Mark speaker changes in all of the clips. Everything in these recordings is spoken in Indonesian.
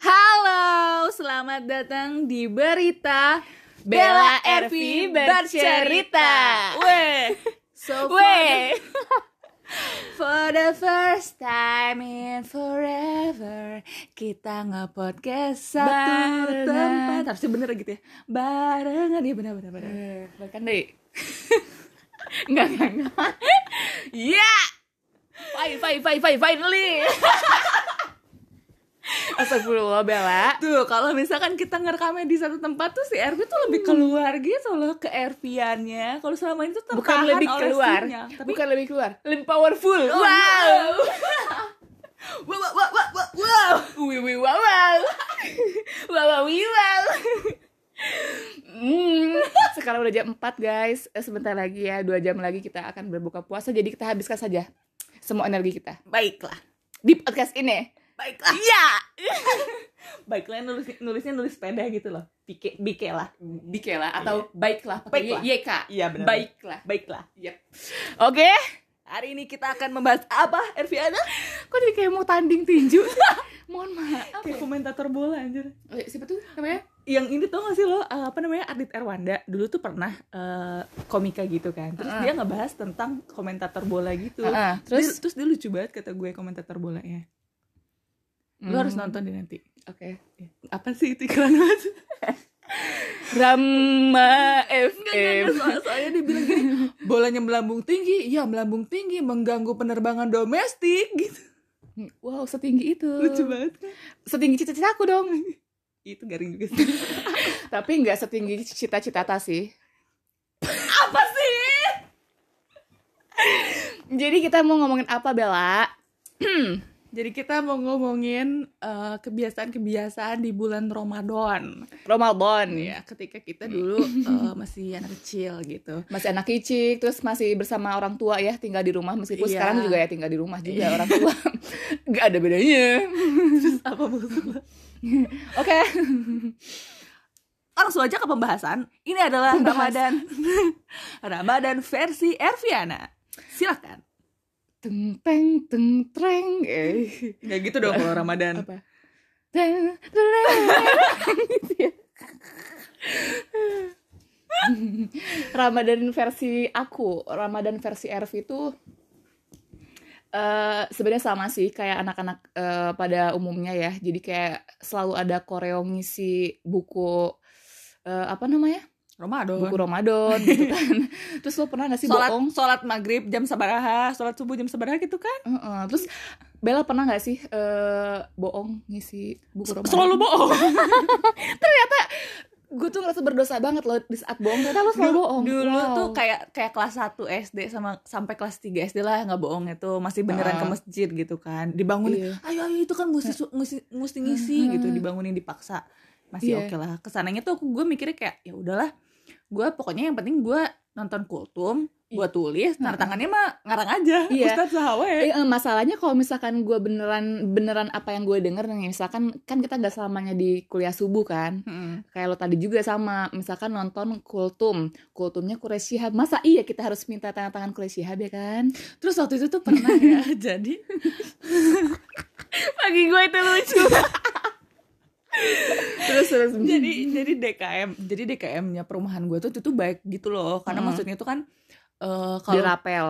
Speaker 1: Halo, selamat datang di berita
Speaker 2: Bella Ervi bercerita.
Speaker 1: Weh, so for
Speaker 2: Weh.
Speaker 1: the- for the first time in forever kita nge-podcast satu
Speaker 2: Barengan.
Speaker 1: tempat. Harusnya bener gitu ya. Barengan ya bener-bener. bener.
Speaker 2: Bahkan deh. Enggak, enggak, enggak. Ya. Fine, fine, fine, fine, finally. Astagfirullah, Bella.
Speaker 1: Tuh, kalau misalkan kita ngerekamnya di satu tempat tuh si Ervi tuh lebih keluar gitu loh ke Erviannya. Kalau selama itu tertahan
Speaker 2: Bukan lebih
Speaker 1: oleh
Speaker 2: keluar.
Speaker 1: scene-nya. Tapi
Speaker 2: Bukan lebih keluar. Lebih powerful.
Speaker 1: Oh,
Speaker 2: wow.
Speaker 1: wow wow wow wow wow, wow.
Speaker 2: Wih, wih, wow, wow. wow, wow, wih, wow. Hmm, sekarang udah jam 4 guys Eh, Sebentar lagi ya, dua jam lagi kita akan berbuka puasa Jadi kita habiskan saja semua energi kita
Speaker 1: Baiklah.
Speaker 2: Di podcast ini
Speaker 1: Baiklah. Iya. Baiklah nulis nulisnya nulis sepeda gitu loh. Bike bike lah.
Speaker 2: Bikela atau Hmm. Iya. baiklah pakai
Speaker 1: Baiklah.
Speaker 2: YK.
Speaker 1: Iya, benar.
Speaker 2: Baiklah.
Speaker 1: Baiklah.
Speaker 2: Yep. Oke.
Speaker 1: Hari ini kita akan membahas apa, Erviana?
Speaker 2: Kok jadi kayak mau tanding tinju? Mohon maaf.
Speaker 1: Kayak komentator bola anjir.
Speaker 2: Eh, Siapa tuh namanya?
Speaker 1: yang ini tau gak sih lo uh, apa namanya Ardit Erwanda dulu tuh pernah uh, komika gitu kan terus dia ngebahas tentang komentator bola gitu
Speaker 2: Heeh,
Speaker 1: terus
Speaker 2: terus?
Speaker 1: dia, terus dia lucu banget kata gue komentator bolanya lo
Speaker 2: Hmm.
Speaker 1: harus nonton deh nanti
Speaker 2: Oke.
Speaker 1: apa sih itu iklan banget
Speaker 2: Rama
Speaker 1: Enggak, enggak, enggak.
Speaker 2: FM.
Speaker 1: Soal- soalnya Kan dia bilang gini bolanya melambung tinggi ya melambung tinggi mengganggu penerbangan domestik gitu
Speaker 2: Wow, setinggi itu.
Speaker 1: lucu banget kan
Speaker 2: Setinggi cita-cita aku dong.
Speaker 1: itu garing juga sih
Speaker 2: Tapi nggak setinggi cita-cita Tata sih.
Speaker 1: apa sih
Speaker 2: Jadi kita mau ngomongin apa Bella?
Speaker 1: jadi kita mau ngomongin uh, kebiasaan-kebiasaan di bulan Ramadan
Speaker 2: Ramadan.
Speaker 1: ya ketika kita dulu eh, masih anak kecil gitu
Speaker 2: Masih anak kicik, terus masih bersama orang tua ya, tinggal di rumah meskipun
Speaker 1: Iya.
Speaker 2: sekarang juga ya tinggal di rumah juga orang tua. Gak ada bedanya.
Speaker 1: terus apa maksud lo?
Speaker 2: Oke.
Speaker 1: langsung aja ke pembahasan ini adalah
Speaker 2: Pembahasan.
Speaker 1: Ramadan Ramadan versi Erviana silakan
Speaker 2: Teng teng teng treng. Eh.
Speaker 1: nggak gitu dong kalau Ramadan
Speaker 2: Apa? Teng treng. Gitu ya. Ramadan versi aku, Ramadan versi Erv itu eh sebenarnya sama sih kayak anak-anak eh, pada umumnya ya. Jadi kayak selalu ada koreo ngisi buku eh, apa namanya?
Speaker 1: Ramadan
Speaker 2: Buku Ramadan gitu kan. Terus lo pernah gak sih
Speaker 1: sholat
Speaker 2: bohong?
Speaker 1: sholat maghrib jam sabaraha sholat subuh jam sabaraha gitu kan
Speaker 2: Heeh, Terus Bella pernah nggak sih eh, bohong ngisi buku Ramadan?
Speaker 1: selalu bohong
Speaker 2: Gue tuh ngerasa berdosa banget loh di saat bohong. Ternyata lo selalu
Speaker 1: dulu,
Speaker 2: bohong.
Speaker 1: dulu
Speaker 2: Wow.
Speaker 1: tuh kayak kayak kelas 1 SD sama sampai kelas 3 SD lah nggak bohongnya tuh masih beneran
Speaker 2: Ah.
Speaker 1: ke masjid gitu kan dibangunin
Speaker 2: Iya.
Speaker 1: ayo ayo itu kan mesti su- mesti mesti ngisi gitu dibangunin dipaksa masih
Speaker 2: Iya.
Speaker 1: oke lah kesananya tuh gue mikirnya kayak ya udahlah gue pokoknya yang penting gue nonton kultum gue tulis tanda tangannya mah ngarang aja
Speaker 2: Iya.
Speaker 1: Ustadz sahawa ya
Speaker 2: Eh, eh, masalahnya kalau misalkan gue beneran beneran apa yang gue denger nih misalkan kan kita nggak selamanya di kuliah subuh kan
Speaker 1: Mm-mm.
Speaker 2: kayak lo tadi juga sama misalkan nonton kultum kultumnya Quraisy Shihab masa iya kita harus minta tanda tangan Quraisy Shihab ya kan
Speaker 1: terus waktu itu tuh pernah ya jadi
Speaker 2: bagi gue itu lucu terus terus
Speaker 1: jadi jadi DKM jadi DKM-nya perumahan gue tuh itu baik gitu loh karena
Speaker 2: Mm.
Speaker 1: maksudnya tuh kan eh, kalau
Speaker 2: dirapel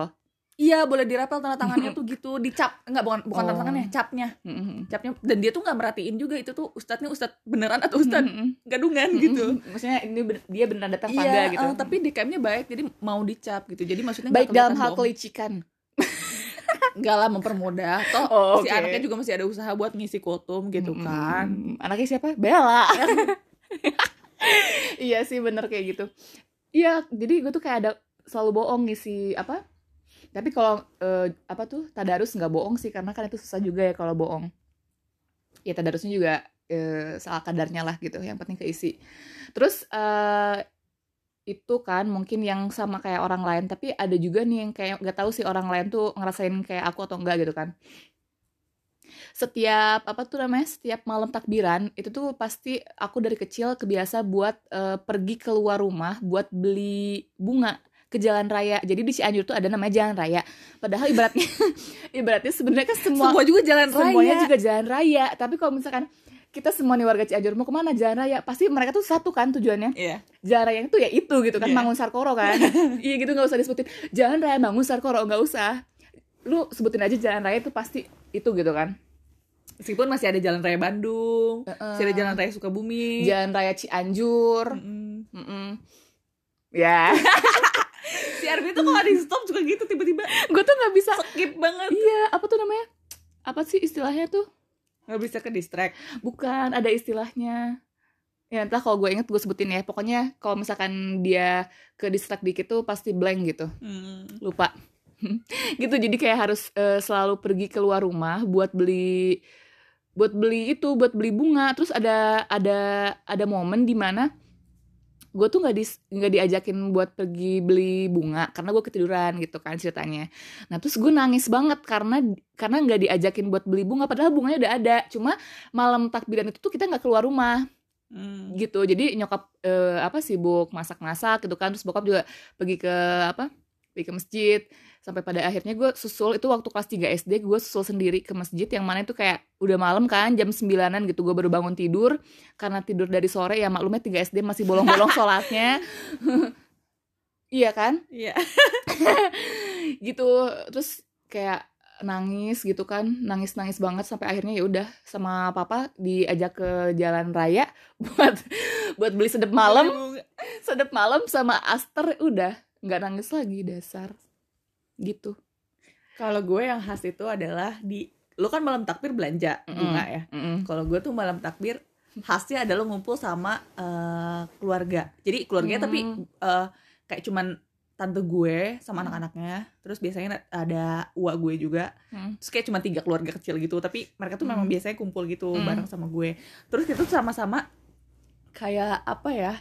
Speaker 1: Iya boleh dirapel tanda tangannya tuh gitu dicap nggak bukan bukan tanda
Speaker 2: Oh.
Speaker 1: tangannya capnya
Speaker 2: Mm-mm.
Speaker 1: capnya dan dia tuh nggak merhatiin juga itu tuh ustadznya ustadz beneran atau ustadz
Speaker 2: Mm-mm.
Speaker 1: gadungan
Speaker 2: Mm-mm.
Speaker 1: gitu
Speaker 2: maksudnya ini ben- dia beneran
Speaker 1: iya
Speaker 2: datang tangga Hmm. gitu
Speaker 1: eh, tapi DKM-nya baik jadi mau dicap gitu jadi maksudnya nggak
Speaker 2: baik dalam
Speaker 1: kelihatan
Speaker 2: hal
Speaker 1: bohong.
Speaker 2: kelicikan
Speaker 1: nggak lah mempermudah toh
Speaker 2: Oh,
Speaker 1: si
Speaker 2: oke.
Speaker 1: anaknya juga masih ada usaha buat ngisi kultum gitu kan
Speaker 2: Mm, anaknya siapa Bella iya sih bener kayak gitu iya jadi gue tuh kayak ada selalu bohong ngisi apa tapi kalau eh, apa tuh tadarus nggak bohong sih karena kan itu susah juga ya kalau bohong ya tadarusnya juga eh, salah kadarnya lah gitu yang penting keisi terus eh, itu kan mungkin yang sama kayak orang lain tapi ada juga nih yang kayak nggak tahu sih orang lain tuh ngerasain kayak aku atau enggak gitu kan setiap apa tuh namanya setiap malam takbiran itu tuh pasti aku dari kecil kebiasa buat eh, pergi keluar rumah buat beli bunga ke jalan raya. Jadi di Cianjur tuh ada namanya jalan raya. Padahal ibaratnya ibaratnya sebenarnya kan semua ya.
Speaker 1: semua juga jalan raya
Speaker 2: semuanya juga jalan raya. Tapi kalau misalkan kita semua nih warga Cianjur mau kemana jalan raya, pasti mereka tuh satu kan tujuannya.
Speaker 1: Iya.
Speaker 2: Jalan raya itu ya itu gitu kan,
Speaker 1: Iya.
Speaker 2: Mangun Sarkoro kan. iya gitu nggak usah disebutin. Jalan raya Mangun Sarkoro nggak usah. Lu sebutin aja jalan raya itu pasti itu gitu kan.
Speaker 1: meskipun masih ada jalan raya Bandung
Speaker 2: Heeh.
Speaker 1: masih ada jalan raya Sukabumi
Speaker 2: Jalan raya Cianjur.
Speaker 1: Mm-mm.
Speaker 2: Mm-mm. Ya,
Speaker 1: si Arvin tuh kalau di stop juga gitu tiba-tiba
Speaker 2: gue tuh nggak bisa.
Speaker 1: sakit banget
Speaker 2: Iya, apa tuh namanya? Apa sih istilahnya tuh?
Speaker 1: nggak bisa ke distract
Speaker 2: Bukan, ada istilahnya. Ya entah kalau gue inget gue sebutin ya. Pokoknya kalau misalkan dia ke distract dikit tuh pasti blank gitu. Lupa. gitu jadi kayak harus eh, selalu pergi keluar rumah buat beli buat beli itu, buat beli bunga. Terus ada ada ada momen di mana gue tuh nggak dis- nggak diajakin buat pergi beli bunga karena gue ketiduran gitu kan ceritanya. Nah terus gue nangis banget karena karena nggak diajakin buat beli bunga padahal bunganya udah ada. Cuma malam takbiran itu tuh kita nggak keluar rumah
Speaker 1: Mm.
Speaker 2: gitu jadi nyokap eh, apa sibuk masak-masak gitu kan terus bokap juga pergi ke apa pergi ke masjid sampai pada akhirnya gue susul itu waktu kelas 3 SD gue susul sendiri ke masjid yang mana itu kayak udah malam kan jam 9an gitu gue baru bangun tidur karena tidur dari sore ya maklumnya 3 SD masih bolong-bolong sholatnya iya kan
Speaker 1: Iya.
Speaker 2: gitu terus kayak nangis gitu kan nangis nangis banget sampai akhirnya ya udah sama papa diajak ke jalan raya buat buat beli sedep malam sedep malam sama aster udah nggak nangis lagi dasar gitu
Speaker 1: Kalau gue yang khas itu adalah di lu kan malam takbir belanja
Speaker 2: Mm-mm.
Speaker 1: bunga ya.
Speaker 2: Mm-mm.
Speaker 1: Kalau gue tuh malam takbir khasnya adalah ngumpul sama eh, keluarga. Jadi keluarganya tapi
Speaker 2: Hmm.
Speaker 1: eh, kayak cuman tante gue sama anak-anaknya. Terus biasanya ada uak gue juga.
Speaker 2: Hmm.
Speaker 1: Terus kayak cuma tiga keluarga kecil gitu. Tapi mereka tuh memang
Speaker 2: Hmm.
Speaker 1: biasanya kumpul gitu
Speaker 2: Hmm.
Speaker 1: bareng sama gue. Terus kita tuh sama-sama kayak apa ya?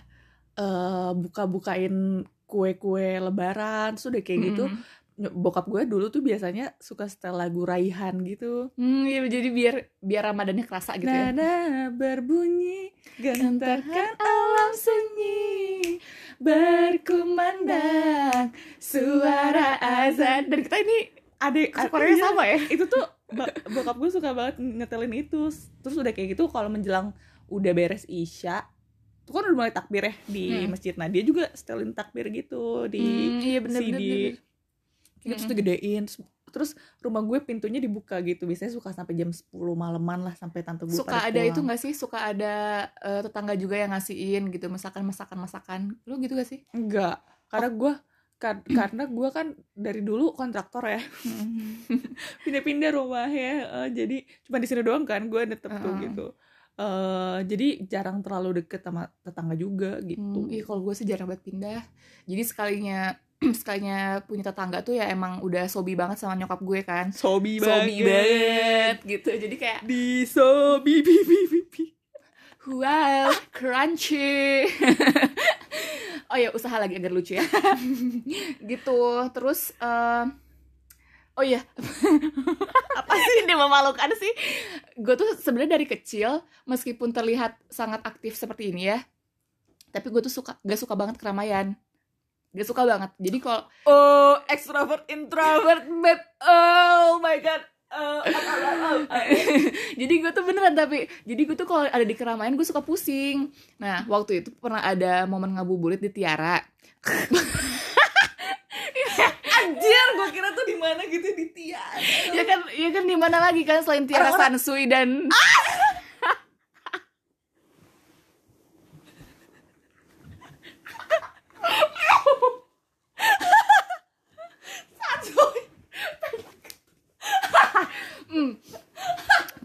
Speaker 1: eh, buka-bukain kue-kue lebaran. Terus udah kayak gitu
Speaker 2: Mm-mm.
Speaker 1: Ny- bokap gue dulu tuh biasanya suka setel lagu raihan gitu.
Speaker 2: Hmm, iya, jadi biar biar ramadannya kerasa gitu ya
Speaker 1: Nada berbunyi
Speaker 2: Gentarkan alam sunyi berkumandang suara azan dan kita ini
Speaker 1: Adik
Speaker 2: Korea
Speaker 1: iya.
Speaker 2: sama ya
Speaker 1: Itu tuh ba- bokap gue suka banget ngetelin itu. Terus udah kayak gitu kalau menjelang udah beres Isya, tuh kan udah mulai takbir ya di
Speaker 2: Hmm.
Speaker 1: masjid. Nah, dia juga setelin takbir gitu di
Speaker 2: Hmm, iya bener,
Speaker 1: CD.
Speaker 2: bener, Hmm. bener.
Speaker 1: Kayak gitu, terus digedein terus, terus rumah gue pintunya dibuka gitu. Biasanya suka sampai jam 10 malaman lah sampai tante gue
Speaker 2: suka
Speaker 1: pada
Speaker 2: ada itu
Speaker 1: pulang.
Speaker 2: nggak sih suka ada eh, tetangga juga yang ngasihin gitu masakan masakan masakan lu gitu gak sih
Speaker 1: Enggak, Oh. karena gua kar- karena gua kan dari dulu kontraktor ya,
Speaker 2: Mm-hmm.
Speaker 1: pindah-pindah rumah ya, eh, jadi cuma di sini doang kan, gua netep tuh
Speaker 2: Heeh.
Speaker 1: gitu. eh jadi jarang terlalu deket sama tetangga juga gitu.
Speaker 2: Hmm, iya kalau gue sih jarang banget pindah jadi sekalinya sekalinya punya tetangga tuh ya emang udah sobi banget sama nyokap gue kan
Speaker 1: Sobi
Speaker 2: sobi banget gitu jadi kayak
Speaker 1: Di sobi bi bi bi bi.
Speaker 2: wow crunchy oh ya usaha lagi agar lucu ya gitu terus eh, oh iya apa sih dia memalukan sih gue tuh sebenarnya dari kecil meskipun terlihat sangat aktif seperti ini ya tapi gue tuh suka gak suka banget keramaian gak suka banget jadi kalau
Speaker 1: Oh, extrovert introvert babe. Oh my god. Oh, oh, oh, oh.
Speaker 2: jadi gue tuh beneran tapi jadi gue tuh kalau ada di keramaian gue suka pusing nah waktu itu pernah ada momen ngabuburit di Tiara
Speaker 1: Anjir, gua kira tuh di mana gitu di tiar.
Speaker 2: ya kan ya kan di mana lagi kan selain Tiara
Speaker 1: Orang-orang-
Speaker 2: Sansui dan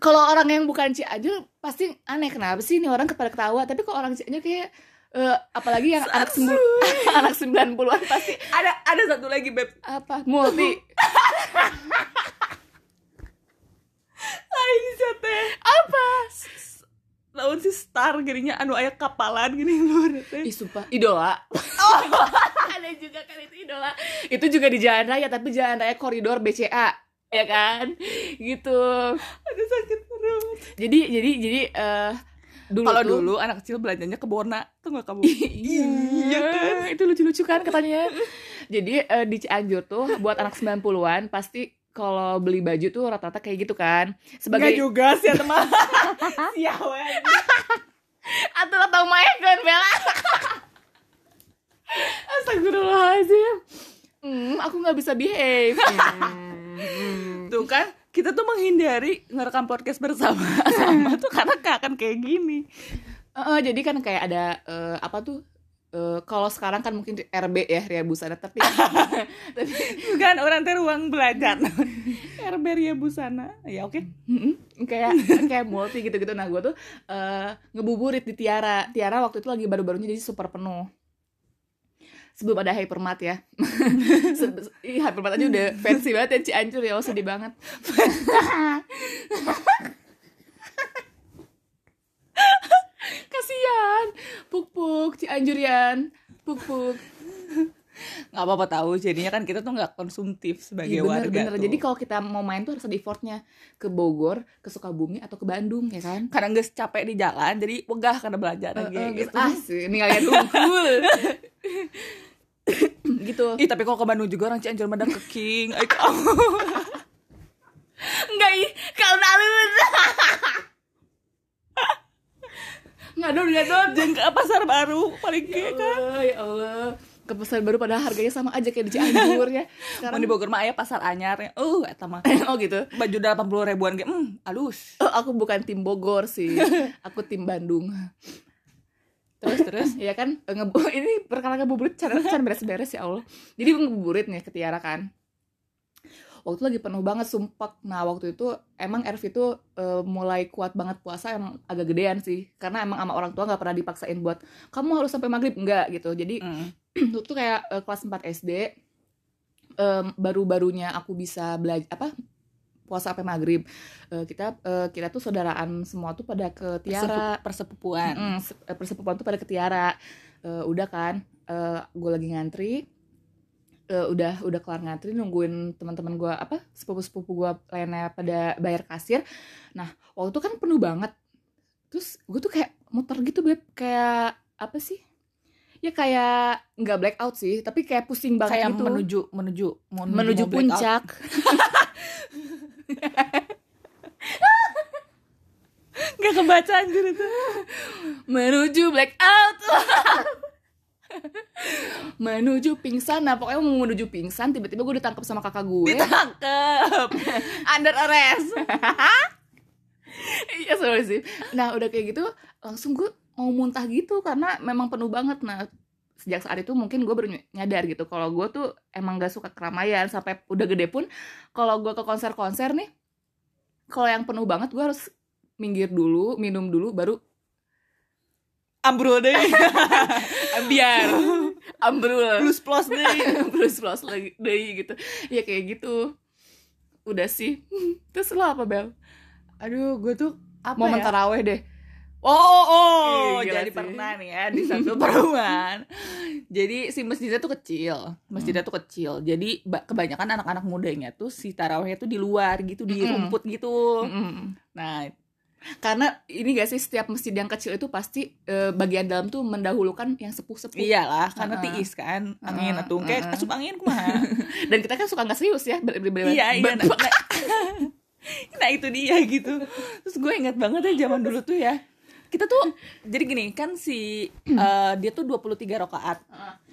Speaker 2: kalau orang yang bukan Cianjur pasti aneh kenapa sih ini orang kepada ketawa tapi kalau orang Cianjur kayak eh, apalagi yang anak sembu- anak 90-an pasti
Speaker 1: Ada ada satu lagi beb.
Speaker 2: apa multi
Speaker 1: Lain sih teh.
Speaker 2: apa
Speaker 1: lawan si star gininya anu aya kapalan gini luar teh
Speaker 2: Ih, sumpah, idola. ada juga kan itu idola. Itu juga di jalan raya, tapi jalan raya koridor BCA, ya kan? Gitu.
Speaker 1: aduh sakit perut
Speaker 2: Jadi, jadi, jadi eh dulu
Speaker 1: kalau
Speaker 2: tuh-
Speaker 1: dulu anak kecil belanjanya ke Borna tuh nggak kamu
Speaker 2: iya
Speaker 1: Iya
Speaker 2: kan? Itu lucu-lucu kan katanya. Jadi eh, di Cianjur tuh buat anak 90-an pasti kalau beli baju tuh rata-rata kayak gitu kan.
Speaker 1: Nggak
Speaker 2: Sebagai
Speaker 1: juga sih ya teman Siawan
Speaker 2: atau atau Maya kan Bella. Astagfirullahaladzim. Hmm, aku nggak bisa behave. Hmm.
Speaker 1: Tuh kan kita tuh menghindari ngerekam podcast bersama sama tuh karena gak akan kayak gini
Speaker 2: Heeh, jadi kan kayak ada eh, apa tuh? eh, kalau sekarang kan mungkin RB ya Ria Busana tapi tapi
Speaker 1: Bukan kan, orang teh ruang belajar Herberia busana Ya oke
Speaker 2: Mm-mm, kayak kayak multi gitu gitu nah gue tuh eh, ngebuburit di Tiara Tiara waktu itu lagi baru-barunya jadi super penuh sebelum ada hypermat ya Se- Ih, hypermat aja udah fancy banget ya Cianjur ya Allah, sedih banget kasihan puk-puk Cianjurian puk-puk
Speaker 1: nggak apa-apa tahu jadinya kan kita tuh nggak konsumtif sebagai
Speaker 2: Iya,
Speaker 1: warga
Speaker 2: bener-bener.
Speaker 1: tuh.
Speaker 2: jadi kalau kita mau main tuh harus ada effortnya ke Bogor ke Sukabumi atau ke Bandung ya kan
Speaker 1: karena nggak capek di jalan jadi wegah karena belajar lagi
Speaker 2: Heeh,
Speaker 1: gitu.
Speaker 2: gitu. Ah, sih, ninggalin unggul. gitu.
Speaker 1: Ih tapi kalau ke Bandung juga orang Cianjur Medan ke King Itu
Speaker 2: Enggak, ih, kau nalun. Ngadon, ngadon.
Speaker 1: jeng ke pasar baru paling
Speaker 2: Ya
Speaker 1: kayak kan
Speaker 2: Allah, ya Allah. Ke pasar baru padahal harganya sama aja kayak di Cianjur ya.
Speaker 1: Mau
Speaker 2: Sekarang
Speaker 1: di Bogor mah aya pasar anyar Uh eta mah
Speaker 2: oh gitu.
Speaker 1: Baju delapan puluh ribuan kayak Hmm alus
Speaker 2: Oh, aku bukan tim Bogor sih. Aku tim Bandung.
Speaker 1: Terus terus
Speaker 2: Iya kan eh, ngebu- ini perkara ngebuburit cara cara beres-beres ya Allah. Jadi ngebuburit nih ke Tiara kan. Waktu lagi penuh banget sumpah. Nah, waktu itu emang Ervi tuh eh, mulai kuat banget puasa emang agak gedean sih. Karena emang sama orang tua nggak pernah dipaksain buat kamu harus sampai maghrib enggak gitu. Jadi
Speaker 1: Mm.
Speaker 2: waktu itu kayak eh, kelas 4 SD em, baru-barunya aku bisa belajar apa puasa sampai maghrib. Eh, kita eh, kita tuh saudaraan semua tuh pada ke Tiara.
Speaker 1: Persepu- Persepupuan
Speaker 2: Mm, se- eh, persepupuan tuh pada ke Tiara Eh, udah kan gue lagi ngantri Eh, udah udah kelar ngantri nungguin teman-teman gue apa sepupu-sepupu gue lainnya pada bayar kasir nah waktu itu kan penuh banget terus gue tuh kayak muter gitu beb kayak apa sih ya kayak nggak black out sih tapi kayak pusing banget
Speaker 1: Kayak
Speaker 2: gitu
Speaker 1: menuju menuju mau-
Speaker 2: menuju
Speaker 1: mau blackout.
Speaker 2: puncak
Speaker 1: Nggak kebaca anjir itu
Speaker 2: menuju blackout menuju pingsan nah pokoknya mau menuju pingsan tiba-tiba gue ditangkap sama kakak gue
Speaker 1: Ditangkep Under arrest
Speaker 2: iya sorry sih nah udah kayak gitu langsung gue mau muntah gitu karena memang penuh banget nah sejak saat itu mungkin gue baru ny- nyadar gitu kalau gue tuh emang gak suka keramaian sampai udah gede pun kalau gue ke konser-konser nih kalau yang penuh banget gue harus minggir dulu minum dulu baru
Speaker 1: Ambrul deh
Speaker 2: biar ambrul
Speaker 1: Plus plus deh
Speaker 2: plus plus lagi deh gitu ya kayak gitu udah sih terus lo apa bel
Speaker 1: Aduh gue tuh apa
Speaker 2: momen
Speaker 1: ya?
Speaker 2: taraweh deh
Speaker 1: Oh, oh, oh.
Speaker 2: Ih, gila
Speaker 1: jadi
Speaker 2: sih.
Speaker 1: pernah nih ya di satu perumahan. Hmm. jadi si masjidnya tuh kecil, masjidnya tuh kecil. Jadi ba- kebanyakan anak-anak mudanya tuh si tarawehnya tuh di luar gitu, di
Speaker 2: Mm-mm.
Speaker 1: rumput gitu.
Speaker 2: Mm-mm.
Speaker 1: Nah,
Speaker 2: karena ini gak sih setiap masjid yang kecil itu pasti eh, bagian dalam tuh mendahulukan yang
Speaker 1: Uh,
Speaker 2: sepuh-sepuh
Speaker 1: iyalah karena
Speaker 2: Uh-uh.
Speaker 1: tiis kan, angin
Speaker 2: Uh-uh,
Speaker 1: atau kayak
Speaker 2: uh-uh.
Speaker 1: asup angin kumaha.
Speaker 2: dan kita kan suka nggak serius ya ber- ber- ber-
Speaker 1: iya, iya. Nah,
Speaker 2: ber-
Speaker 1: nah- nah, itu dia gitu. Terus gue ingat banget ya zaman dulu tuh ya. Kita tuh jadi gini kan si eh, dia tuh 23 rakaat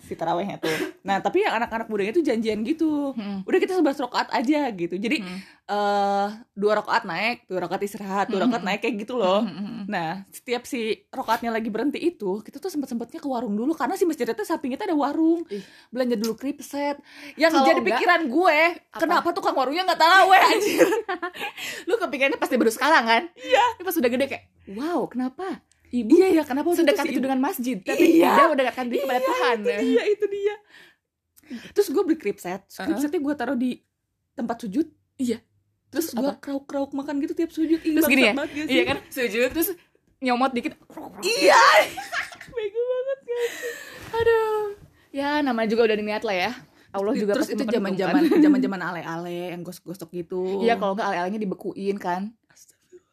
Speaker 1: si tarawehnya tuh. Nah, tapi yang anak-anak mudanya tuh janjian gitu.
Speaker 2: Mm.
Speaker 1: Udah kita 11 rakaat aja gitu. Jadi
Speaker 2: Mm.
Speaker 1: eh dua rakaat naik, dua rakaat istirahat, dua
Speaker 2: Hmm.
Speaker 1: rakaat naik kayak gitu
Speaker 2: oh,
Speaker 1: loh. Nah, setiap si rokaatnya lagi berhenti itu, kita tuh sempet-sempetnya ke warung dulu karena si masjidnya tuh sampingnya tuh ada warung.
Speaker 2: Ih.
Speaker 1: Belanja dulu kripset. Yang
Speaker 2: Kalau
Speaker 1: jadi
Speaker 2: enggak, Iya,
Speaker 1: pikiran gue, kenapa tukang warungnya nggak taraweh anjir?
Speaker 2: lu kepikirannya pasti baru sekarang kan iya pas udah gede kayak wow kenapa ibu
Speaker 1: iya ya, kenapa waktu
Speaker 2: sedekat
Speaker 1: si
Speaker 2: itu
Speaker 1: ibu-
Speaker 2: dengan masjid tapi
Speaker 1: Iya.
Speaker 2: dia mendekatkan diri kepada Tuhan ya.
Speaker 1: Iya, itu dia. Terus gue beli kripset,
Speaker 2: Heeh.
Speaker 1: kripsetnya gue taruh di tempat sujud.
Speaker 2: Iya.
Speaker 1: Terus
Speaker 2: Apa?
Speaker 1: gue krauk-krauk makan gitu tiap sujud. Ih,
Speaker 2: Terus gini
Speaker 1: bangsat
Speaker 2: ya?
Speaker 1: banget gak sih?
Speaker 2: iya kan sujud terus nyomot dikit
Speaker 1: Iya. Bego banget kan.
Speaker 2: aduh ya namanya juga udah niat lah ya Allah juga
Speaker 1: Terus
Speaker 2: pasti
Speaker 1: itu
Speaker 2: memperhitungkan.
Speaker 1: zaman-zaman zaman-zaman ale-ale yang gosok-gosok gitu.
Speaker 2: iya kalau nggak ale-alenya dibekuin kan
Speaker 1: Astagfirullah.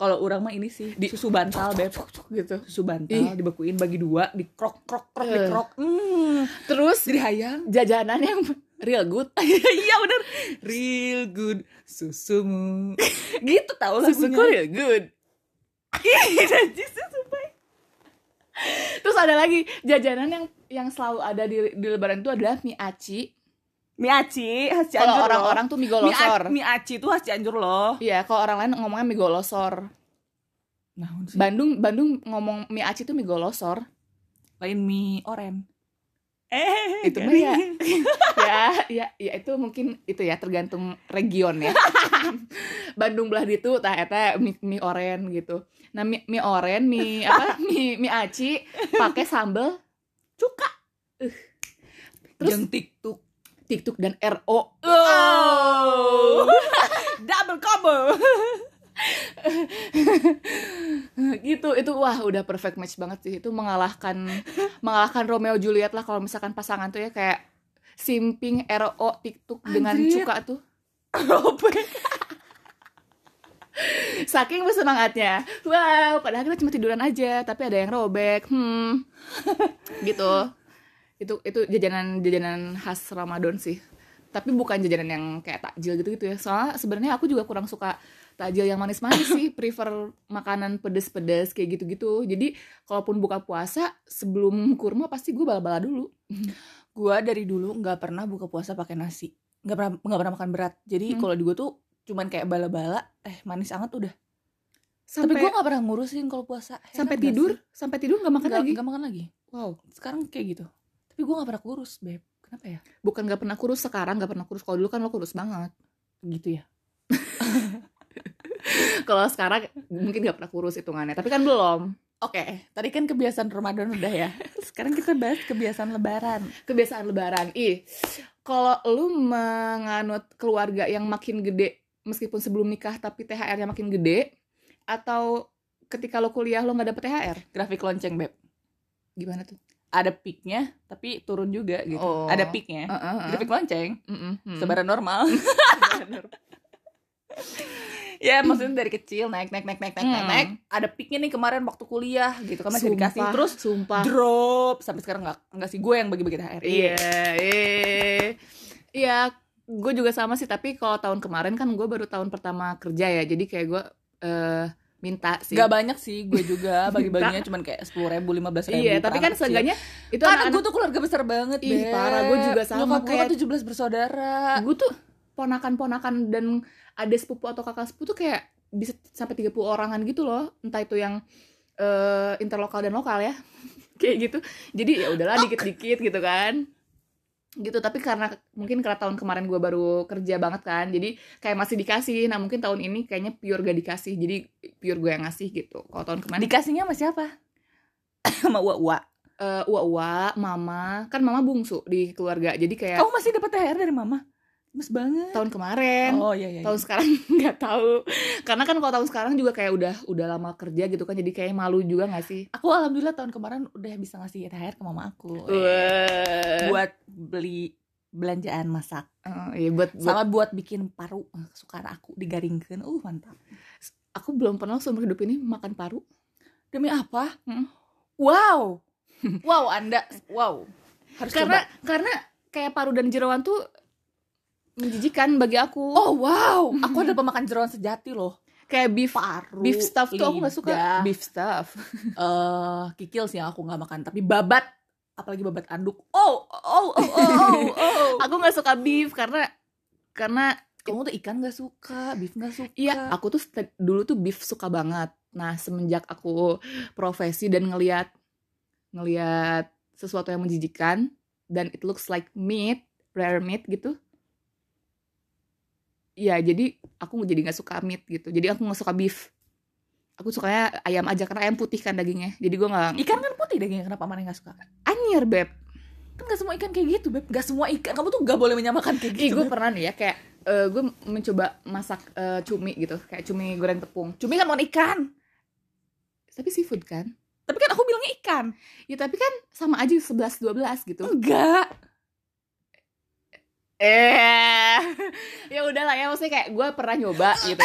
Speaker 1: Kalau orang mah ini sih di susu bantal beb. gitu. Susu bantal
Speaker 2: Ih.
Speaker 1: dibekuin bagi dua, dikrok krok krok
Speaker 2: Eh.
Speaker 1: dikrok. Hmm.
Speaker 2: Terus
Speaker 1: Jadi hayang.
Speaker 2: jajanan yang real good.
Speaker 1: Iya bener Real good susumu. gitu tau
Speaker 2: Susuku
Speaker 1: lagunya.
Speaker 2: real good.
Speaker 1: Ih, najis ya, sumpah.
Speaker 2: Terus ada lagi jajanan yang yang selalu ada di, di lebaran itu adalah mie aci.
Speaker 1: Mie aci khas Cianjur.
Speaker 2: Kalau
Speaker 1: loh.
Speaker 2: orang-orang tuh mie
Speaker 1: mie, a-
Speaker 2: golosor.
Speaker 1: mie aci tuh khas Cianjur loh.
Speaker 2: Iya, kalau orang lain ngomongnya mie golosor.
Speaker 1: Nah,
Speaker 2: Bandung Bandung ngomong mie aci tuh mie golosor.
Speaker 1: lain mie oren. Eh,
Speaker 2: Itu mah
Speaker 1: garing.
Speaker 2: ya. ya, ya, ya itu mungkin itu ya tergantung region ya. Bandung belah ditu tah eta mie, mie oren gitu. Nah, mie, mie oren, mie apa? Mie mie aci pakai sambal cuka. Uh. Terus
Speaker 1: Jeng TikTok.
Speaker 2: TikTok dan RO.
Speaker 1: Oh. Double combo.
Speaker 2: gitu. Itu wah udah perfect match banget sih. Itu mengalahkan mengalahkan Romeo Juliet lah kalau misalkan pasangan tuh ya kayak simping RO TikTok dengan
Speaker 1: Anjir.
Speaker 2: cuka tuh. Saking bersemangatnya. Wow, padahal kita cuma tiduran aja, tapi ada yang robek. Hmm. gitu. Itu itu jajanan-jajanan khas Ramadan sih. Tapi bukan jajanan yang kayak takjil gitu-gitu ya. Soalnya sebenarnya aku juga kurang suka takjil yang manis-manis sih, prefer makanan pedes-pedes kayak gitu-gitu. Jadi, kalaupun buka puasa sebelum kurma pasti gue bala-bala dulu.
Speaker 1: gua dari dulu nggak pernah buka puasa pakai nasi. Nggak pernah nggak pernah makan berat. Jadi
Speaker 2: Hmm.
Speaker 1: kalau di gua tuh cuman kayak bala-bala, eh manis anget udah.
Speaker 2: Sampai
Speaker 1: Tapi gua nggak pernah ngurusin kalau puasa. Heran
Speaker 2: sampai
Speaker 1: nggak
Speaker 2: tidur,
Speaker 1: sih?
Speaker 2: sampai tidur nggak makan
Speaker 1: nggak
Speaker 2: lagi.
Speaker 1: nggak makan lagi.
Speaker 2: Wow.
Speaker 1: Sekarang kayak gitu. Tapi gua nggak pernah kurus, Beb. Kenapa ya?
Speaker 2: Bukan nggak pernah kurus sekarang, nggak pernah kurus. Kalau dulu kan lo kurus banget.
Speaker 1: Gitu ya.
Speaker 2: kalau sekarang mungkin gak pernah kurus hitungannya tapi kan belum
Speaker 1: Oke, tadi kan kebiasaan Ramadan udah ya. Sekarang kita bahas kebiasaan lebaran.
Speaker 2: kebiasaan lebaran ih kalau lu menganut keluarga yang makin gede meskipun sebelum nikah tapi THR-nya makin gede atau ketika lo kuliah lo nggak dapet THR
Speaker 1: Grafik lonceng, Beb.
Speaker 2: gimana tuh
Speaker 1: Ada peaknya, tapi turun juga gitu.
Speaker 2: Oh.
Speaker 1: Ada peaknya. Grafik lonceng. sebaran normal ya maksudnya dari kecil naik naik naik naik naik naik
Speaker 2: Hmm.
Speaker 1: naik ada peaknya nih kemarin waktu kuliah gitu kan masih dikasih
Speaker 2: sumpah,
Speaker 1: terus
Speaker 2: sumpah
Speaker 1: drop sampai sekarang nggak nggak sih gue yang bagi-bagi THR
Speaker 2: Iya, iya. Iya, gue juga sama sih. Tapi kalau tahun kemarin kan gue baru tahun pertama kerja ya. Jadi kayak gue eh, minta sih.
Speaker 1: Gak banyak sih gue juga bagi-baginya cuman kayak sepuluh ribu lima belas ribu
Speaker 2: Iya, tapi kan seenggaknya itu
Speaker 1: karena
Speaker 2: anak-anak
Speaker 1: gue tuh keluarga besar banget
Speaker 2: Ih,
Speaker 1: Beb.
Speaker 2: parah, gue juga sama,
Speaker 1: nyokap gue kan
Speaker 2: kayak-
Speaker 1: 17 bersaudara
Speaker 2: gue tuh ponakan-ponakan dan ada sepupu atau kakak sepupu tuh kayak bisa sampai 30 orangan gitu loh. Entah itu yang eh interlokal dan lokal ya. kayak gitu. Jadi ya udahlah dikit-dikit gitu kan. Gitu, tapi karena mungkin karena tahun kemarin gue baru kerja banget kan. Jadi kayak masih dikasih. Nah, mungkin tahun ini kayaknya pure gak dikasih. Jadi pure gue yang ngasih gitu. Kalau tahun kemarin
Speaker 1: dikasihnya sama siapa sama uwa uwa
Speaker 2: eh uwa-uwa, mama, kan mama bungsu di keluarga. Jadi kayak
Speaker 1: kamu masih dapat THR dari mama mas banget
Speaker 2: tahun kemarin
Speaker 1: oh iya iya, iya.
Speaker 2: tahun sekarang nggak tahu karena kan kalau tahun sekarang juga kayak udah udah lama kerja gitu kan jadi kayak malu juga nggak sih
Speaker 1: aku alhamdulillah tahun kemarin udah bisa ngasih THR ke mama aku
Speaker 2: Oh, iya. buat
Speaker 1: buat beli belanjaan masak
Speaker 2: Eh, iya, buat, buat-
Speaker 1: sama buat bikin paru eh, kesukaan aku digaringkan uh mantap
Speaker 2: aku belum pernah seumur hidup ini makan paru
Speaker 1: demi apa
Speaker 2: Mm.
Speaker 1: wow wow anda wow harus
Speaker 2: karena karena kayak paru dan jeroan tuh menjijikan bagi aku
Speaker 1: coba. oh wow aku adalah pemakan jeroan sejati loh
Speaker 2: kayak beef
Speaker 1: paru
Speaker 2: beef stuff tuh aku nggak suka
Speaker 1: lidah.
Speaker 2: beef stuff
Speaker 1: Eh, kikil sih yang aku nggak makan tapi babat apalagi babat anduk oh oh oh oh oh, oh.
Speaker 2: aku nggak suka beef karena karena
Speaker 1: kamu tuh ikan nggak suka beef nggak suka
Speaker 2: Iya, aku tuh st- dulu tuh beef suka banget. Nah, semenjak aku profesi dan ngeliat ngeliat sesuatu yang menjijikan dan it looks like meat, rare meat gitu. Ya, jadi aku jadi nggak suka meat gitu. Jadi aku nggak suka beef. Aku sukanya ayam aja karena ayam putih kan dagingnya. Jadi gua nggak
Speaker 1: ikan kan putih dagingnya kenapa mana nggak suka
Speaker 2: anjir beb.
Speaker 1: kan gak semua ikan kayak gitu beb gak semua ikan kamu tuh gak boleh menyamakan kayak
Speaker 2: Ih,
Speaker 1: gitu
Speaker 2: gue
Speaker 1: Beb.
Speaker 2: pernah nih ya kayak eh, gue mencoba masak eh, cumi gitu, kayak cumi goreng tepung.
Speaker 1: cumi kan bukan ikan
Speaker 2: Tapi seafood kan?
Speaker 1: tapi kan aku bilangnya ikan
Speaker 2: Ya tapi kan sama aja 11 12 gitu.
Speaker 1: enggak
Speaker 2: ya. Eh, ya udahlah ya maksudnya kayak gue pernah nyoba gitu.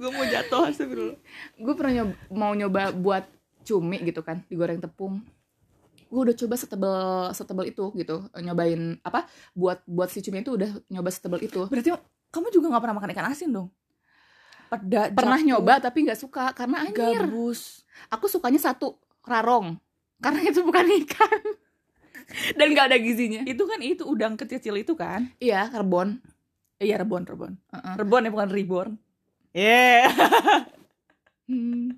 Speaker 1: gue mau jatuh astagfirullah
Speaker 2: gue pernah nyoba, mau nyoba buat cumi gitu kan digoreng tepung gue udah coba setebel setebel itu gitu nyobain apa buat buat si cumi itu udah nyoba setebel itu
Speaker 1: berarti kamu juga nggak pernah makan ikan asin dong peda
Speaker 2: pernah
Speaker 1: jagung,
Speaker 2: nyoba tapi nggak suka karena anjir
Speaker 1: gabus
Speaker 2: aku sukanya satu rarong karena itu bukan ikan dan nggak ada gizinya
Speaker 1: itu kan itu udang kecil itu kan
Speaker 2: iya karbon
Speaker 1: iya rebon rebon
Speaker 2: Heeh.
Speaker 1: rebon ya bukan reborn yeah
Speaker 2: Hmm.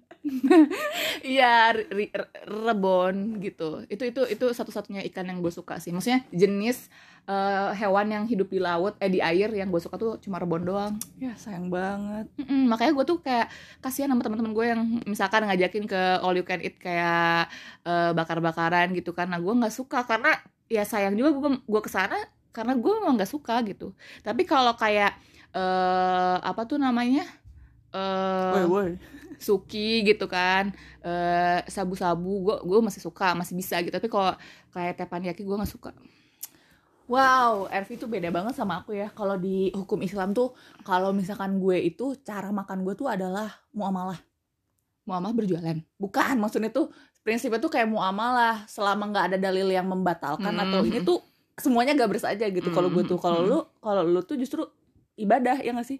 Speaker 2: iya ri- ri- re- rebon gitu itu itu itu satu-satunya ikan yang gue suka sih maksudnya jenis eh, hewan yang hidup di laut eh di air yang gue suka tuh cuma rebon doang
Speaker 1: ya sayang banget
Speaker 2: Mm-mm, makanya gue tuh kayak kasihan sama teman-teman gue yang misalkan ngajakin ke all you can eat kayak eh, bakar-bakaran gitu karena gue nggak suka karena ya sayang juga gue gue kesana karena gue memang nggak suka gitu tapi kalau kayak eh apa tuh namanya
Speaker 1: woi
Speaker 2: eh
Speaker 1: woi
Speaker 2: suki gitu kan eh sabu-sabu gue gue masih suka masih bisa gitu tapi kalau kayak teppanyaki gue nggak suka
Speaker 1: Wow, Ervi itu beda banget sama aku ya. Kalau di hukum Islam tuh, kalau misalkan gue itu cara makan gue tuh adalah muamalah.
Speaker 2: Muhammad berjualan
Speaker 1: Bukan, maksudnya tuh prinsipnya tuh kayak muamalah. Selama nggak ada dalil yang membatalkan
Speaker 2: Hmm.
Speaker 1: atau ini tuh semuanya gabres aja gitu. Kalau gue tuh, kalau
Speaker 2: Hmm.
Speaker 1: lu, kalau lu tuh justru ibadah ya nggak sih?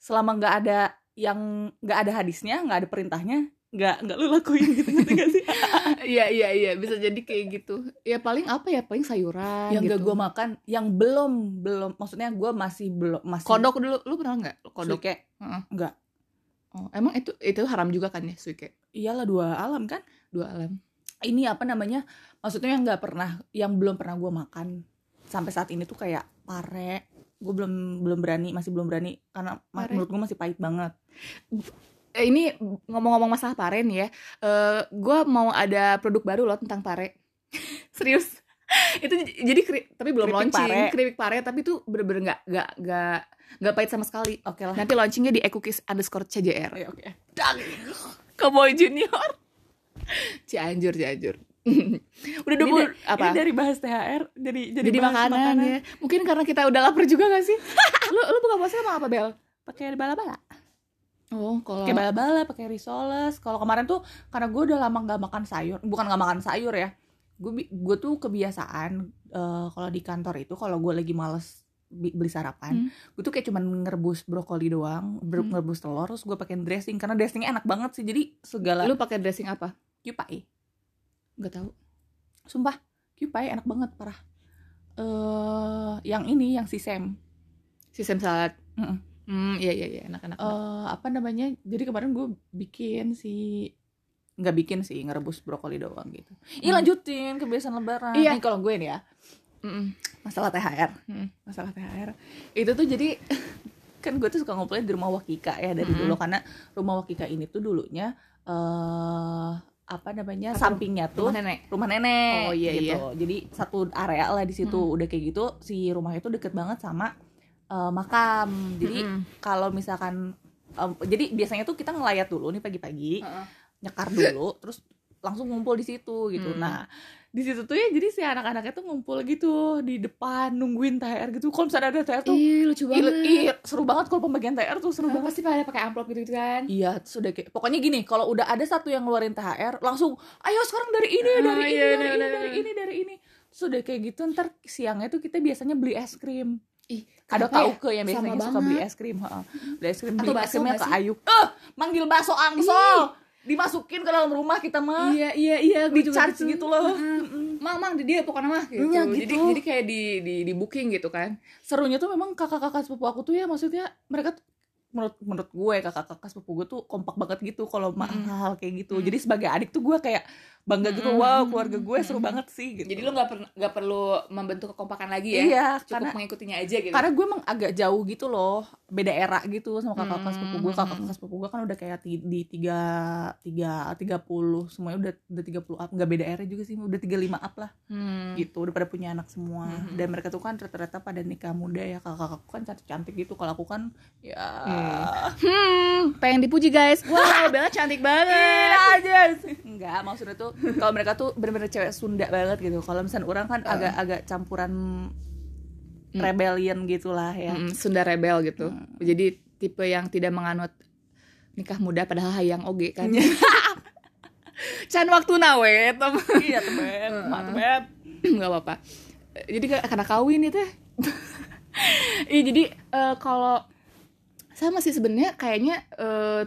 Speaker 1: Selama nggak ada yang nggak ada hadisnya, nggak ada perintahnya, nggak nggak lu lakuin gitu gitu nggak sih?
Speaker 2: Iya iya iya bisa jadi kayak gitu. Ya paling apa ya paling sayuran.
Speaker 1: yang nggak
Speaker 2: gitu.
Speaker 1: gue makan, yang belum belum, maksudnya gue masih belum masih
Speaker 2: kodok dulu lu pernah nggak kodok?
Speaker 1: Suike.
Speaker 2: Oh, emang itu itu haram juga kan ya suike
Speaker 1: Iyalah dua alam kan.
Speaker 2: dua alam.
Speaker 1: ini apa namanya maksudnya yang nggak pernah yang belum pernah gue makan sampai saat ini tuh kayak pare gue belum belum berani masih belum berani karena ma-
Speaker 2: Pare.
Speaker 1: menurut gue masih pahit banget
Speaker 2: Eh, ini ngomong-ngomong masalah pare nih ya. Eh gua mau ada produk baru loh tentang pare. Serius. itu j- jadi kri- tapi belum
Speaker 1: Keripik
Speaker 2: launching
Speaker 1: pare.
Speaker 2: keripik pare tapi itu bener-bener nggak nggak nggak nggak pahit sama sekali.
Speaker 1: oke lah
Speaker 2: Nanti launchingnya di ekukis underscore cjr.
Speaker 1: Oke, oke
Speaker 2: Cowboy Junior. Cianjur, Cianjur. Udah
Speaker 1: Ini
Speaker 2: 20
Speaker 1: da-
Speaker 2: apa?
Speaker 1: ini dari bahas thr jadi jadi,
Speaker 2: jadi,
Speaker 1: bahas
Speaker 2: makanan, ya. Mungkin karena kita udah lapar juga gak sih? lu lu buka puasa sama apa, Bel?
Speaker 1: pakai bala-bala
Speaker 2: Oh, kalau
Speaker 1: pakai bala-bala pakai risoles kalau kemarin tuh karena gue udah lama nggak makan sayur bukan nggak makan sayur ya gue bi- gue tuh kebiasaan eh, kalau di kantor itu kalau gue lagi males bi- beli sarapan
Speaker 2: Hmm.
Speaker 1: gue tuh kayak cuman ngerebus brokoli doang ber-
Speaker 2: Hmm.
Speaker 1: ngerebus telur terus gue pakein dressing karena dressingnya enak banget sih jadi segala
Speaker 2: lu pakai dressing apa?
Speaker 1: Kewpie.
Speaker 2: Gak tahu.
Speaker 1: sumpah Kewpie enak banget parah eh yang ini yang si Sam
Speaker 2: Sistem salad.
Speaker 1: Mm-mm.
Speaker 2: Hmm, iya iya iya, enak-enak.
Speaker 1: eh apa namanya jadi kemarin gue bikin si nggak bikin sih ngerebus brokoli doang gitu Ih
Speaker 2: Hmm.
Speaker 1: lanjutin kebiasaan lebaran
Speaker 2: Iya.
Speaker 1: Nih, kalau gue nih ya
Speaker 2: Mm-mm.
Speaker 1: masalah THR
Speaker 2: Mm-mm.
Speaker 1: masalah THR itu tuh jadi kan gue tuh suka ngumpulin di rumah Wakika ya dari
Speaker 2: Mm-mm.
Speaker 1: dulu karena rumah Wakika ini tuh dulunya eh apa namanya
Speaker 2: Apa?
Speaker 1: sampingnya tuh
Speaker 2: Rumah nenek.
Speaker 1: rumah nenek
Speaker 2: Oh, iya,
Speaker 1: gitu.
Speaker 2: iya.
Speaker 1: Jadi satu area lah di situ
Speaker 2: Mm.
Speaker 1: udah kayak gitu si rumahnya tuh deket banget sama eh, makam. Jadi
Speaker 2: Mm-mm.
Speaker 1: kalau misalkan em, jadi biasanya tuh kita ngelayat dulu nih pagi-pagi
Speaker 2: Heeh.
Speaker 1: nyekar dulu terus langsung ngumpul di situ gitu
Speaker 2: Hmm.
Speaker 1: nah di situ tuh ya jadi si anak-anaknya tuh ngumpul gitu di depan nungguin THR gitu kalau misalnya ada THR tuh
Speaker 2: Ih,
Speaker 1: ih,
Speaker 2: lucu banget.
Speaker 1: ih, seru banget kalau pembagian THR tuh seru
Speaker 2: Lu
Speaker 1: banget
Speaker 2: pasti pada pakai amplop gitu kan.
Speaker 1: Iya, sudah kayak pokoknya gini, kalau udah ada satu yang ngeluarin THR, langsung ayo sekarang dari ini,
Speaker 2: Ah,
Speaker 1: dari ini,
Speaker 2: iya,
Speaker 1: dari, ini
Speaker 2: bener, bener,
Speaker 1: dari
Speaker 2: bener.
Speaker 1: ini, dari ini. Sudah kayak gitu ntar siangnya tuh kita biasanya beli es krim.
Speaker 2: Ih,
Speaker 1: Ada
Speaker 2: kenapa ya?
Speaker 1: tau ke yang biasanya
Speaker 2: Sama
Speaker 1: suka
Speaker 2: banget. Hmm.
Speaker 1: beli es krim, heeh. Beli es krim,
Speaker 2: Atau
Speaker 1: beli es
Speaker 2: bakso
Speaker 1: krimnya
Speaker 2: nggak
Speaker 1: ke
Speaker 2: sih?
Speaker 1: Ayu. Eh, manggil bakso angsol. Dimasukin ke dalam rumah kita mah.
Speaker 2: Iya iya iya,
Speaker 1: Di
Speaker 2: gua juga
Speaker 1: charge gitu loh.
Speaker 2: Heeh.
Speaker 1: Mm-mm.
Speaker 2: Mang, mang, dia pokoknya mah gitu.
Speaker 1: Iya,
Speaker 2: Jadi,
Speaker 1: gitu.
Speaker 2: jadi kayak di, di di booking gitu kan.
Speaker 1: Serunya tuh memang kakak-kakak sepupu aku tuh ya maksudnya mereka tuh- menurut menurut gue kakak-kakak sepupu gue tuh kompak banget gitu kalau ma-
Speaker 2: Mm-mm.
Speaker 1: hal-hal kayak gitu.
Speaker 2: Mm.
Speaker 1: Jadi sebagai adik tuh gue kayak bangga gitu,
Speaker 2: Mm-mm.
Speaker 1: wow keluarga gue seru
Speaker 2: Mm-mm.
Speaker 1: banget sih gitu.
Speaker 2: Jadi lu nggak per- nggak perlu membentuk kekompakan lagi ya.
Speaker 1: Iya,
Speaker 2: Cukup
Speaker 1: karena
Speaker 2: mengikutinya aja gitu.
Speaker 1: karena gue emang agak jauh gitu loh, beda era gitu sama kakak kakak sepupu gue.
Speaker 2: Hmm.
Speaker 1: Kakak kakak sepupu gue kan udah kayak ti- di tiga tiga tiga puluh semuanya udah udah tiga puluh up, nggak beda era juga sih, udah tiga lima up lah
Speaker 2: Hmm.
Speaker 1: gitu. Udah pada punya anak semua
Speaker 2: Hmm.
Speaker 1: dan mereka tuh kan rata-rata pada nikah muda ya. Kakak kakakku kan cantik cantik gitu, kalau aku kan ya
Speaker 2: Hmm, pengen dipuji guys. Wow, Bella cantik banget.
Speaker 1: aja enggak maksudnya tuh kalau mereka tuh bener-bener cewek Sunda banget gitu kalau misalnya orang kan
Speaker 2: Hmm.
Speaker 1: agak-agak campuran rebellion gitulah ya Hmm.
Speaker 2: Hmm. Mm, Sunda rebel gitu. Jadi tipe yang tidak menganut nikah muda padahal hayang oge kan can waktu nawe tem
Speaker 1: iya tebet
Speaker 2: Hmm.
Speaker 1: mak tebet
Speaker 2: nggak apa-apa Eh, jadi karena kawin itu ya Iya, jadi eh, kalau sama sih sebenarnya kayaknya eh,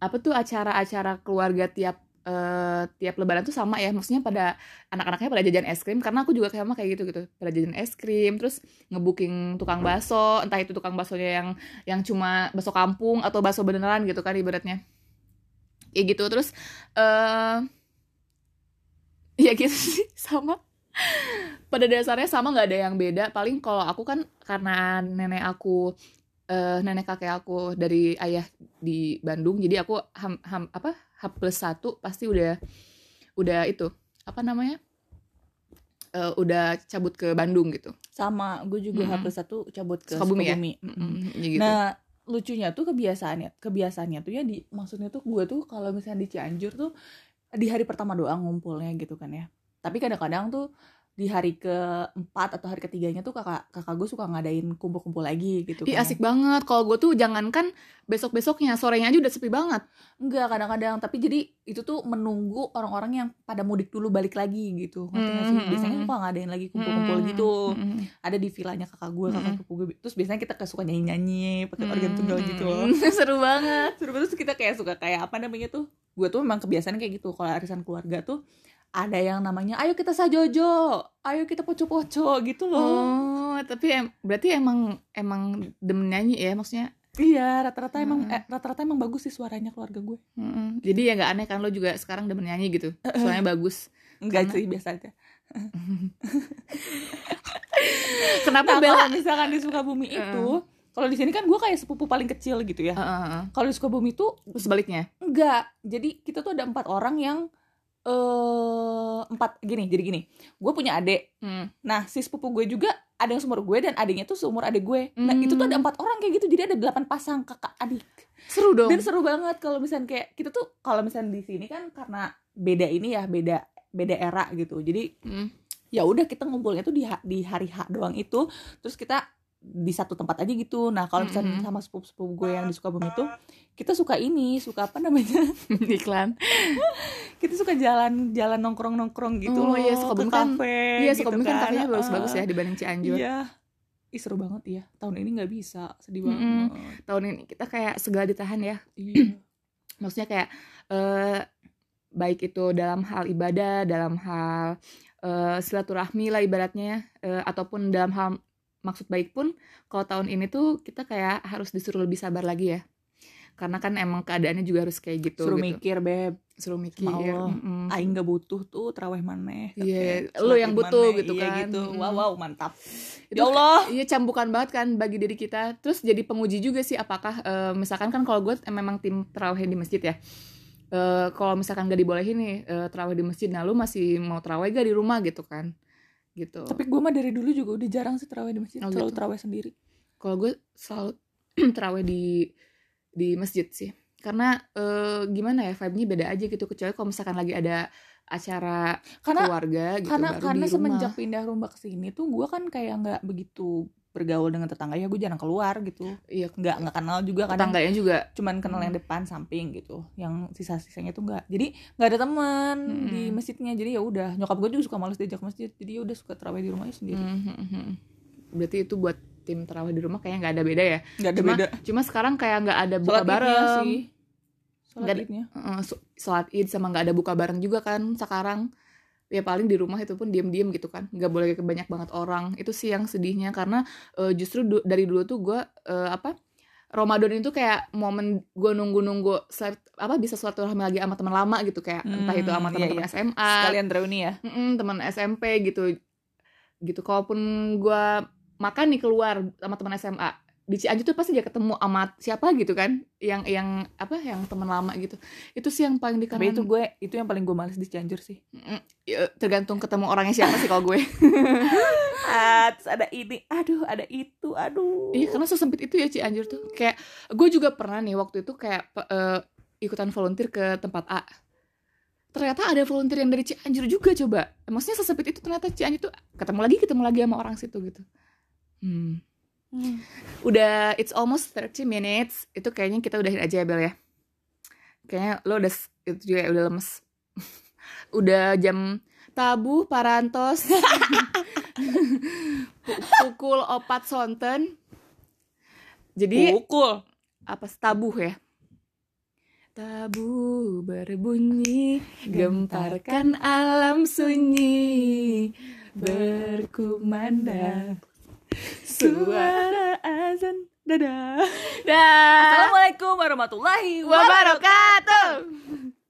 Speaker 2: apa tuh acara-acara keluarga tiap eh, tiap lebaran tuh sama ya maksudnya pada anak-anaknya pada jajan es krim karena aku juga kayak sama kayak gitu gitu pada jajan es krim terus ngebooking tukang bakso entah itu tukang baksonya yang yang cuma bakso kampung atau bakso beneran gitu kan ibaratnya ya gitu terus eh ya gitu sih sama pada dasarnya sama nggak ada yang beda paling kalau aku kan karena nenek aku eh, nenek kakek aku dari ayah di Bandung jadi aku ham, ham- apa H plus satu pasti udah udah itu apa namanya Eh, udah cabut ke Bandung gitu,
Speaker 1: sama gue juga
Speaker 2: Mm-mm.
Speaker 1: HP satu cabut ke
Speaker 2: Sukabumi ya?
Speaker 1: Sukabumi. Mm-mm.
Speaker 2: Mm, ya gitu.
Speaker 1: Nah, lucunya tuh kebiasaannya, kebiasaannya tuh ya di maksudnya tuh gue tuh kalau misalnya di Cianjur tuh di hari pertama doang ngumpulnya gitu kan ya. Tapi kadang-kadang tuh di hari keempat atau hari ketiganya tuh kakak kakak gue suka ngadain kumpul-kumpul lagi gitu. kan
Speaker 2: Ih
Speaker 1: ya.
Speaker 2: asik banget. Kalau gue tuh jangankan besok besoknya sorenya aja udah sepi banget.
Speaker 1: Enggak kadang-kadang, tapi jadi itu tuh menunggu orang-orang yang pada mudik dulu balik lagi gitu. Ngerti nggak sih?
Speaker 2: Mm-mm.
Speaker 1: Biasanya suka ngadain lagi kumpul-kumpul
Speaker 2: Mm,
Speaker 1: gitu.
Speaker 2: mm,
Speaker 1: Ada di villanya kakak gue, kakak
Speaker 2: Mm-mm.
Speaker 1: sepupu gue. Terus biasanya kita kayak suka nyanyi-nyanyi pakai organ
Speaker 2: mm,
Speaker 1: tunggal
Speaker 2: mm,
Speaker 1: gitu. loh.
Speaker 2: mm. Seru banget.
Speaker 1: Seru banget, terus kita kayak suka kayak apa namanya tuh? Gue tuh memang kebiasaan kayak gitu kalau arisan keluarga tuh ada yang namanya ayo kita sajojo, ayo kita poco-poco gitu loh.
Speaker 2: Oh, tapi em- berarti emang emang demen nyanyi ya maksudnya.
Speaker 1: Iya, rata-rata emang
Speaker 2: Mm-mm.
Speaker 1: eh, rata-rata emang bagus sih suaranya keluarga gue.
Speaker 2: Mm-mm. Jadi ya nggak aneh kan lo juga sekarang demen nyanyi gitu. Soalnya bagus.
Speaker 1: Enggak sih
Speaker 2: Karena-
Speaker 1: biasa aja.
Speaker 2: Kenapa
Speaker 1: Nah,
Speaker 2: Bella?
Speaker 1: kalau misalkan di Sukabumi itu, kalau di sini kan gue kayak sepupu paling kecil gitu ya.
Speaker 2: Heeh, heeh.
Speaker 1: Kalau di Sukabumi itu
Speaker 2: Terus sebaliknya.
Speaker 1: enggak. Jadi kita tuh ada empat orang yang eh empat gini. Jadi gini, gue punya adik.
Speaker 2: Hmm.
Speaker 1: Nah, si sepupu gue juga ada yang seumur gue dan adiknya tuh seumur adik gue. Nah,
Speaker 2: Hmm.
Speaker 1: itu tuh ada empat orang kayak gitu. Jadi ada delapan pasang kakak adik.
Speaker 2: Seru dong.
Speaker 1: Dan seru banget kalau misalnya kayak kita tuh kalau misalnya di sini kan karena beda ini ya, beda beda era gitu. Jadi
Speaker 2: Mm.
Speaker 1: ya udah kita ngumpulnya tuh di ha- di hari H doang itu terus kita di satu tempat aja gitu nah kalau misalnya
Speaker 2: Mm-mm.
Speaker 1: sama sepupu-sepupu gue yang di Sukabumi itu kita suka ini suka apa namanya
Speaker 2: Iklan.
Speaker 1: kita suka jalan jalan nongkrong nongkrong gitu loh
Speaker 2: Oh, iya,
Speaker 1: ke
Speaker 2: Sukabumi kan-
Speaker 1: kafe
Speaker 2: Iya,
Speaker 1: gitu
Speaker 2: Sukabumi kan kafenya
Speaker 1: Ah,
Speaker 2: bagus-bagus ya dibanding Cianjur.
Speaker 1: iya Ih, seru banget ya tahun ini nggak bisa sedih banget
Speaker 2: Mm-mm. Tahun ini kita kayak segala ditahan ya.
Speaker 1: iya
Speaker 2: maksudnya kayak eh baik itu dalam hal ibadah, dalam hal eh, silaturahmi lah ibaratnya, eh, ataupun dalam hal maksud baik pun, kalau tahun ini tuh kita kayak harus disuruh lebih sabar lagi ya, karena kan emang keadaannya juga harus kayak gitu,
Speaker 1: suruh
Speaker 2: gitu.
Speaker 1: mikir beb
Speaker 2: suruh mikir,
Speaker 1: Sama Allah.
Speaker 2: mm-mm.
Speaker 1: aing nggak butuh tuh teraweh maneh
Speaker 2: Iya,
Speaker 1: Katanya,
Speaker 2: lu yang
Speaker 1: sholat
Speaker 2: butuh
Speaker 1: maneh.
Speaker 2: gitu
Speaker 1: Iya,
Speaker 2: kan.
Speaker 1: gitu.
Speaker 2: Mm-mm.
Speaker 1: wow wow mantap
Speaker 2: Itu
Speaker 1: ya Allah
Speaker 2: Iya cambukan banget kan bagi diri kita. Terus jadi penguji juga sih apakah eh, misalkan kan kalau gue eh, memang tim terawih di masjid ya. Eh, kalau misalkan gak dibolehin nih eh, terawih di masjid, nah lu masih mau terawih gak di rumah gitu kan? Gitu.
Speaker 1: tapi gue mah dari dulu juga udah jarang sih teraweh di masjid
Speaker 2: Oh,
Speaker 1: selalu
Speaker 2: gitu.
Speaker 1: teraweh sendiri
Speaker 2: kalau gue selalu terawih di di masjid sih. Karena eh, gimana ya vibe-nya beda aja gitu kecuali kalau misalkan lagi ada acara
Speaker 1: karena
Speaker 2: keluarga gitu
Speaker 1: karena
Speaker 2: baru
Speaker 1: karena
Speaker 2: di rumah.
Speaker 1: semenjak pindah rumah ke sini tuh gue kan kayak nggak begitu bergaul dengan tetangga ya gue jarang keluar gitu
Speaker 2: iya
Speaker 1: nggak nggak kenal juga kadang
Speaker 2: tetangganya juga
Speaker 1: cuman kenal yang depan samping gitu yang sisa sisanya tuh nggak jadi nggak ada teman
Speaker 2: Mm-mm.
Speaker 1: di masjidnya jadi ya udah nyokap gue juga suka males diajak ke masjid jadi ya udah suka terawih di rumahnya sendiri hmm.
Speaker 2: Mhm. berarti itu buat tim terawih di rumah kayaknya nggak ada beda ya
Speaker 1: Hmm. nggak ada
Speaker 2: cuma
Speaker 1: beda
Speaker 2: cuma sekarang kayak nggak ada buka
Speaker 1: Sholat idnya
Speaker 2: bareng
Speaker 1: sih sholat
Speaker 2: Nggak ada-
Speaker 1: idnya
Speaker 2: Heeh, so- sholat id sama nggak ada buka bareng juga kan sekarang ya paling di rumah itu pun diem-diem gitu kan nggak boleh ke banyak banget orang itu sih yang sedihnya karena eh, justru du- dari dulu tuh gue eh, apa Ramadan itu kayak momen gue nunggu-nunggu seleb- apa bisa suatu lagi sama teman lama gitu kayak entah itu sama
Speaker 1: Hmm, iya,
Speaker 2: teman-teman
Speaker 1: iya.
Speaker 2: SMA
Speaker 1: sekalian reuni ya
Speaker 2: Mm-mm, teman SMP gitu gitu kalaupun gua makan nih keluar sama teman SMA di Cianjur tuh pasti dia ketemu sama siapa gitu kan yang yang apa yang teman lama gitu itu sih yang paling
Speaker 1: tapi
Speaker 2: dikangenin
Speaker 1: itu gue itu yang paling gue males di Cianjur sih
Speaker 2: Mm, ya, tergantung ketemu orangnya siapa sih kalau gue
Speaker 1: ah, terus ada ini aduh ada itu aduh
Speaker 2: iya karena sesempit itu ya Cianjur tuh kayak gue juga pernah nih waktu itu kayak pe- eh, ikutan volunteer ke tempat A ternyata ada volunteer yang dari Cianjur juga coba maksudnya sesempit itu ternyata Cianjur tuh ketemu lagi ketemu lagi sama orang situ gitu hmm Udah it's almost 30 minutes. Itu kayaknya kita udahin aja ya Bel ya. Kayaknya lo udah s- itu juga ya, udah lemes. udah jam tabu parantos. Pu- Pukul opat sonten. Jadi
Speaker 1: Pukul.
Speaker 2: apa tabuh ya tabuh berbunyi gemparkan alam sunyi berkumandang
Speaker 1: Suara azan. Dadah.
Speaker 2: dah
Speaker 1: Assalamualaikum warahmatullahi wabarakatuh.
Speaker 2: wabarakatuh